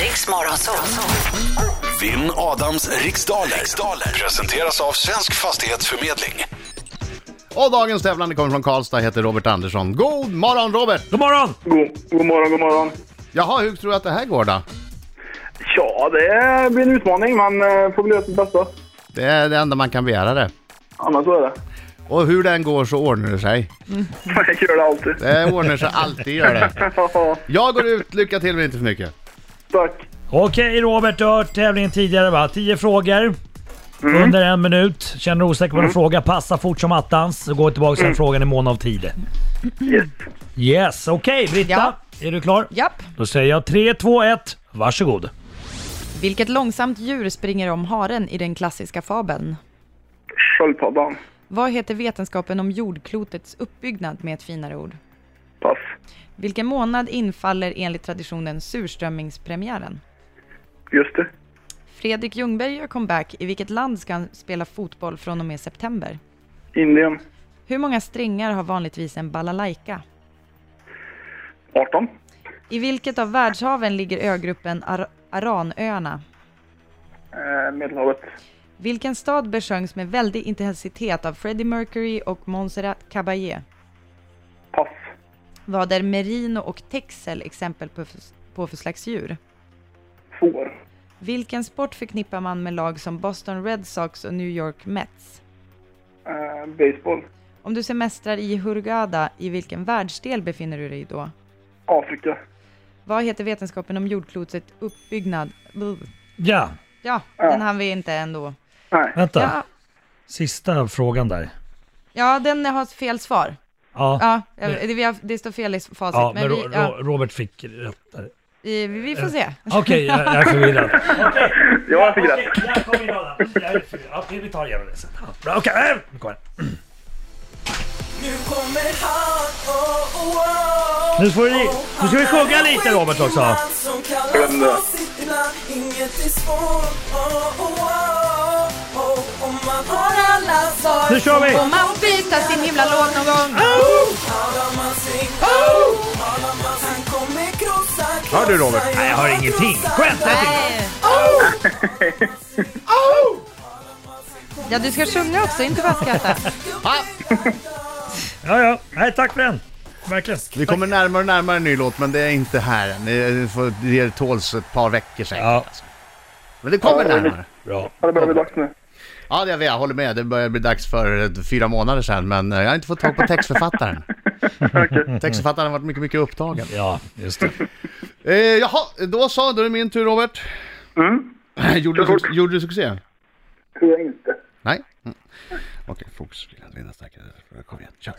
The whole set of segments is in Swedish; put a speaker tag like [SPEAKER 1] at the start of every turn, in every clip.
[SPEAKER 1] Riks Morgonzoo.
[SPEAKER 2] Vinn Adams riksdaler. riksdaler presenteras av Svensk Fastighetsförmedling.
[SPEAKER 3] Och dagens tävlande kommer från Karlstad, heter Robert Andersson. God morgon Robert!
[SPEAKER 4] God morgon!
[SPEAKER 5] God, god morgon, god morgon.
[SPEAKER 3] Jaha, hur tror du att det här går då?
[SPEAKER 5] Ja, det blir en utmaning. Man eh, får väl göra sitt bästa.
[SPEAKER 3] Det är det enda man kan begära det.
[SPEAKER 5] Annars så är det.
[SPEAKER 3] Och hur den går så ordnar det sig.
[SPEAKER 5] Jag gör det alltid.
[SPEAKER 3] Det ordnar sig alltid, gör det. Jag går ut, lycka till men inte för mycket.
[SPEAKER 5] Tack.
[SPEAKER 4] Okej Robert, du har hört tävlingen tidigare va? 10 frågor under en minut. Känner du osäker på en fråga, passa fort som attans. Så går tillbaka till den frågan i mån av tid.
[SPEAKER 5] Yes.
[SPEAKER 4] Yes, okej Britta. Är du klar?
[SPEAKER 6] Japp.
[SPEAKER 4] Då säger jag 3, 2, 1, varsågod.
[SPEAKER 6] Vilket långsamt djur springer om haren i den klassiska fabeln?
[SPEAKER 5] Sköldpaddan.
[SPEAKER 6] Vad heter vetenskapen om jordklotets uppbyggnad med ett finare ord?
[SPEAKER 5] Pass.
[SPEAKER 6] Vilken månad infaller enligt traditionen surströmmingspremiären?
[SPEAKER 5] Just det.
[SPEAKER 6] Fredrik Ljungberg gör comeback. I vilket land ska han spela fotboll från och med september?
[SPEAKER 5] Indien.
[SPEAKER 6] Hur många strängar har vanligtvis en balalaika?
[SPEAKER 5] 18.
[SPEAKER 6] I vilket av världshaven ligger ögruppen Ar- Aranöarna?
[SPEAKER 5] Eh, Medelhavet.
[SPEAKER 6] Vilken stad besjöngs med väldig intensitet av Freddie Mercury och Montserrat Caballé?
[SPEAKER 5] Pass.
[SPEAKER 6] Vad är merino och texel exempel på för, på för slags djur?
[SPEAKER 5] Får.
[SPEAKER 6] Vilken sport förknippar man med lag som Boston Red Sox och New York Mets?
[SPEAKER 5] Eh, baseball.
[SPEAKER 6] Om du semestrar i Hurghada, i vilken världsdel befinner du dig då?
[SPEAKER 5] Afrika.
[SPEAKER 6] Vad heter vetenskapen om jordklotets uppbyggnad? Buh.
[SPEAKER 4] Ja,
[SPEAKER 6] Ja, den hann vi inte ändå.
[SPEAKER 5] Nej.
[SPEAKER 4] vänta.
[SPEAKER 6] Ja,
[SPEAKER 4] Sista frågan där.
[SPEAKER 6] ja den har fel svar.
[SPEAKER 4] Ja, ja,
[SPEAKER 6] Ja, jag- det, vi har, det står fel i
[SPEAKER 4] men,
[SPEAKER 6] facit. men Eh. vi,
[SPEAKER 4] Ro-
[SPEAKER 6] ja,
[SPEAKER 4] Ro- Robert fick rätt där.
[SPEAKER 6] vi, vi får se.
[SPEAKER 4] Okej, jag, jag är förvirrad.
[SPEAKER 5] Ja, jag fick
[SPEAKER 4] Okej,
[SPEAKER 5] rätt.
[SPEAKER 4] där kom vi då. Jag är förvirrad. Ja, vi tar igenom det sen. Ja, bra, Okej, äh, nu kommer den.
[SPEAKER 7] Nu kommer han, oh, oh, oh,
[SPEAKER 4] Nu får vi- nu ska vi sjunga lite, Robert, också.
[SPEAKER 5] Glöm det.
[SPEAKER 7] oh,
[SPEAKER 4] Nu kör vi!
[SPEAKER 6] Om man byta sin himla låt någon gång.
[SPEAKER 3] Hör du, Robert?
[SPEAKER 4] Nej, jag hör ingenting. Skönt, jag tycker-
[SPEAKER 6] Nej. Oh! Ja, du ska sjunga också, inte bara skratta.
[SPEAKER 4] Ja, ja. Nej, tack för den. Verkligen.
[SPEAKER 3] Vi kommer närmare och närmare en ny låt men det är inte här än. Det får- Det tåls ett par veckor säkert.
[SPEAKER 4] Ja.
[SPEAKER 3] Alltså. Men det kommer närmare.
[SPEAKER 4] Bra.
[SPEAKER 5] Ja, det börjar bli dags nu.
[SPEAKER 3] Ja, det jag vet, jag håller med. Det börjar bli dags för eh, fyra månader sedan men eh, jag har inte fått tag på textförfattaren. textförfattaren har varit mycket, mycket upptagen.
[SPEAKER 4] Ja, just det.
[SPEAKER 3] Eh, jaha, då så. Då är det min tur Robert.
[SPEAKER 5] Mm.
[SPEAKER 3] Gjorde du,
[SPEAKER 5] Kör
[SPEAKER 3] suc-
[SPEAKER 5] fort.
[SPEAKER 3] gjorde du succé?
[SPEAKER 5] Tror jag inte.
[SPEAKER 3] Nej. Mm. Okej, fokus. Lilla vinna starkare. Kom igen, kör.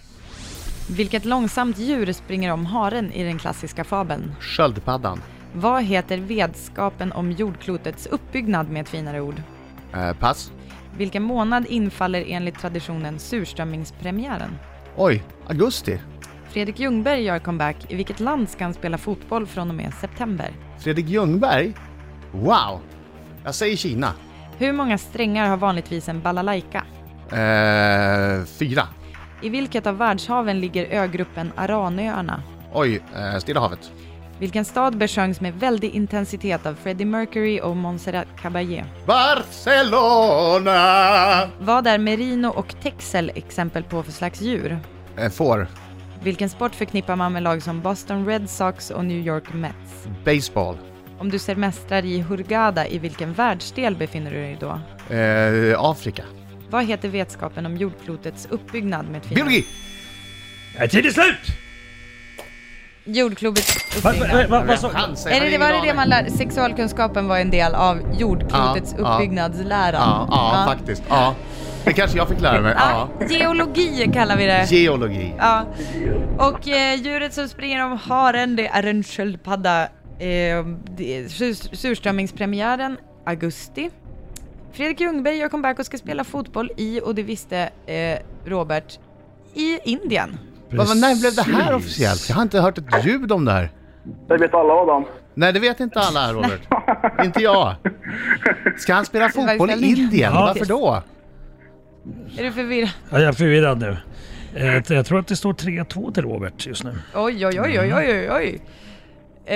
[SPEAKER 6] Vilket långsamt djur springer om haren i den klassiska fabeln?
[SPEAKER 3] Sköldpaddan.
[SPEAKER 6] Vad heter vetskapen om jordklotets uppbyggnad med ett finare ord?
[SPEAKER 3] Eh, pass.
[SPEAKER 6] Vilken månad infaller enligt traditionen surströmmingspremiären?
[SPEAKER 3] Oj, augusti.
[SPEAKER 6] Fredrik Ljungberg gör comeback. I vilket land ska han spela fotboll från och med september?
[SPEAKER 3] Fredrik Ljungberg. Wow. Jag säger Kina.
[SPEAKER 6] Hur många strängar har vanligtvis en balalaika?
[SPEAKER 3] Eh, fyra.
[SPEAKER 6] I vilket av världshaven ligger ögruppen Aranöarna?
[SPEAKER 3] Oj, eh, Stilla havet.
[SPEAKER 6] Vilken stad besjöngs med väldig intensitet av Freddie Mercury och Montserrat Caballé?
[SPEAKER 3] Barcelona.
[SPEAKER 6] Vad är merino och texel exempel på för slags djur?
[SPEAKER 3] Eh, får.
[SPEAKER 6] Vilken sport förknippar man med lag som Boston Red Sox och New York Mets?
[SPEAKER 3] Baseball.
[SPEAKER 6] Om du semestrar i Hurghada, i vilken världsdel befinner du dig då?
[SPEAKER 3] Eh, Afrika.
[SPEAKER 6] Vad heter vetskapen om jordklotets uppbyggnad med ett fint-
[SPEAKER 3] Biologi.
[SPEAKER 4] Är tiden slut?
[SPEAKER 6] Jordklotets
[SPEAKER 4] Va, va, va,
[SPEAKER 6] uppbyggnad.
[SPEAKER 4] va, vad sa-
[SPEAKER 3] Han säger
[SPEAKER 6] Är
[SPEAKER 3] han
[SPEAKER 6] det,
[SPEAKER 3] har
[SPEAKER 6] var
[SPEAKER 3] ingen
[SPEAKER 6] det det
[SPEAKER 3] aning.
[SPEAKER 6] man lär, sexualkunskapen var en del av jordklotets
[SPEAKER 3] Ja, ja.
[SPEAKER 6] uppbyggnadslära.
[SPEAKER 3] Ja, ja, faktiskt. Ja. Det kanske jag fick lära mig.
[SPEAKER 6] Ja,
[SPEAKER 3] Ja.
[SPEAKER 6] geologi kallar vi det.
[SPEAKER 3] Geologi.
[SPEAKER 6] Ja. Och eh, djuret som springer om haren, det är en sköldpadda. Eh, det är sur- surströmmingspremiären, augusti. Fredrik Ljungberg gör comeback och ska spela fotboll i, och det visste eh, Robert, i Indien.
[SPEAKER 3] Men, men när blev det här
[SPEAKER 4] Precis.
[SPEAKER 3] officiellt? Jag har inte hört ett ljud om det här.
[SPEAKER 5] Det vet alla, Adam.
[SPEAKER 3] Nej, det vet inte alla, Robert. inte jag. Ska han spela
[SPEAKER 6] var
[SPEAKER 3] fotboll i
[SPEAKER 6] ställning.
[SPEAKER 3] Indien?
[SPEAKER 4] Ja.
[SPEAKER 3] Varför då?
[SPEAKER 6] Är du förvirrad?
[SPEAKER 4] Ja, jag är förvirrad nu. Eh, Jag tror att det står 3-2 till Robert just nu.
[SPEAKER 6] Oj, oj, oj, oj, oj, oj, oj.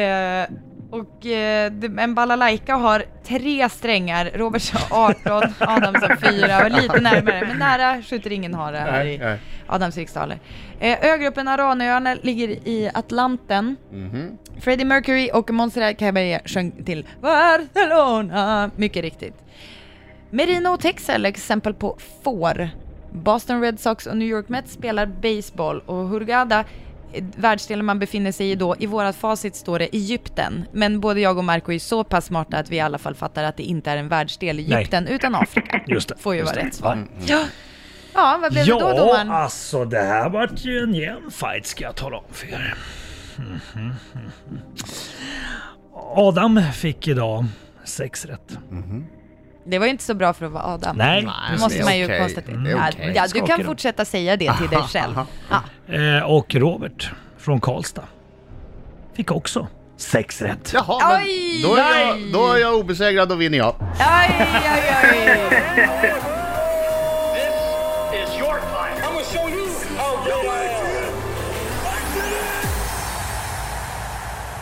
[SPEAKER 6] Eh, och eh, det- en balalaika har tre strängar, Roberts har 18, Adams har 4 och lite närmare, men nära skjuter ingen hare här
[SPEAKER 3] Nej,
[SPEAKER 6] i
[SPEAKER 3] nej.
[SPEAKER 6] Adams riksdaler. Eh, ögruppen Aranöarna ligger i Atlanten.
[SPEAKER 3] Mhm.
[SPEAKER 6] Freddie Mercury och Montserrat Caballé sjöng till Barcelona, mycket riktigt. Merino och Texel är exempel på får. Boston Red Sox och New York Mets spelar baseball och Hurghada, eh, världsdelen man befinner sig i då, i vårat facit står det Egypten. Men både jag och Marco är så pass smarta att vi i alla fall fattar att det inte är en världsdel i
[SPEAKER 4] Nej.
[SPEAKER 6] Egypten utan Afrika.
[SPEAKER 4] Just det.
[SPEAKER 6] Får ju
[SPEAKER 4] Just
[SPEAKER 6] vara
[SPEAKER 4] det. Mm.
[SPEAKER 6] rätt svar. Ja. ja, vad blev det då
[SPEAKER 4] Ja,
[SPEAKER 6] domaren?
[SPEAKER 4] alltså det här vart ju en jämn fight ska jag tala om för er. Mhm. Adam fick idag sex rätt.
[SPEAKER 6] Det var ju inte så bra för att vara Adam.
[SPEAKER 4] Nej,
[SPEAKER 3] Nej,
[SPEAKER 4] precis.
[SPEAKER 6] Måste
[SPEAKER 3] det är
[SPEAKER 6] man ju
[SPEAKER 3] okej.
[SPEAKER 6] konstatera.
[SPEAKER 3] Det är
[SPEAKER 6] Ja,
[SPEAKER 3] okej.
[SPEAKER 6] Ja, du
[SPEAKER 4] Skakar
[SPEAKER 6] kan
[SPEAKER 4] de.
[SPEAKER 6] fortsätta säga det till dig själv. Ja.
[SPEAKER 4] Eh, och Robert från Karlstad fick också sex rätt.
[SPEAKER 3] Jaha, men
[SPEAKER 6] Oj!
[SPEAKER 3] då, är
[SPEAKER 6] Nej.
[SPEAKER 3] jag, då är jag obesegrad och vinner jag.
[SPEAKER 6] Aj, aj, aj.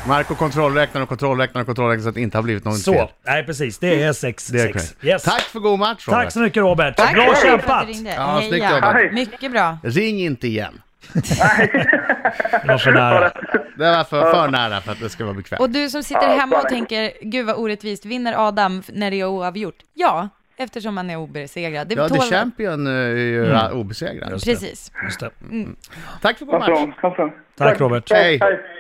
[SPEAKER 3] Marco kontrollräknar och kontrollräknar och kontrollräknar så att det inte har blivit något
[SPEAKER 4] Så,
[SPEAKER 3] fel.
[SPEAKER 4] nej precis. Det
[SPEAKER 6] Mm.
[SPEAKER 4] är sex.
[SPEAKER 3] Det är
[SPEAKER 4] sex.
[SPEAKER 3] korrekt.
[SPEAKER 4] Yes.
[SPEAKER 3] Tack för god match Robert.
[SPEAKER 4] Tack så mycket Robert.
[SPEAKER 6] Tack
[SPEAKER 4] Bra
[SPEAKER 6] för att
[SPEAKER 4] kämpat.
[SPEAKER 6] du ringde.
[SPEAKER 3] Ja, snyggt
[SPEAKER 6] Heja.
[SPEAKER 3] jobbat.
[SPEAKER 5] Hej.
[SPEAKER 6] Mycket bra.
[SPEAKER 3] Ring inte igen.
[SPEAKER 4] Det var för nära.
[SPEAKER 3] Det var för, för nära för att det ska vara bekvämt.
[SPEAKER 6] Och du som sitter hemma och tänker, gud vad orättvist, vinner Adam f- när det är oavgjort? Ja, eftersom han är obesegrad. Det
[SPEAKER 3] Ja, The
[SPEAKER 6] tål-
[SPEAKER 3] Champion eh, är ju eh, obesegrad.
[SPEAKER 6] Precis.
[SPEAKER 4] Just det.
[SPEAKER 3] Tack för god
[SPEAKER 5] Kom
[SPEAKER 3] match.
[SPEAKER 5] fram, kom fram.
[SPEAKER 4] Tack Robert.
[SPEAKER 3] Hej.
[SPEAKER 5] Hej.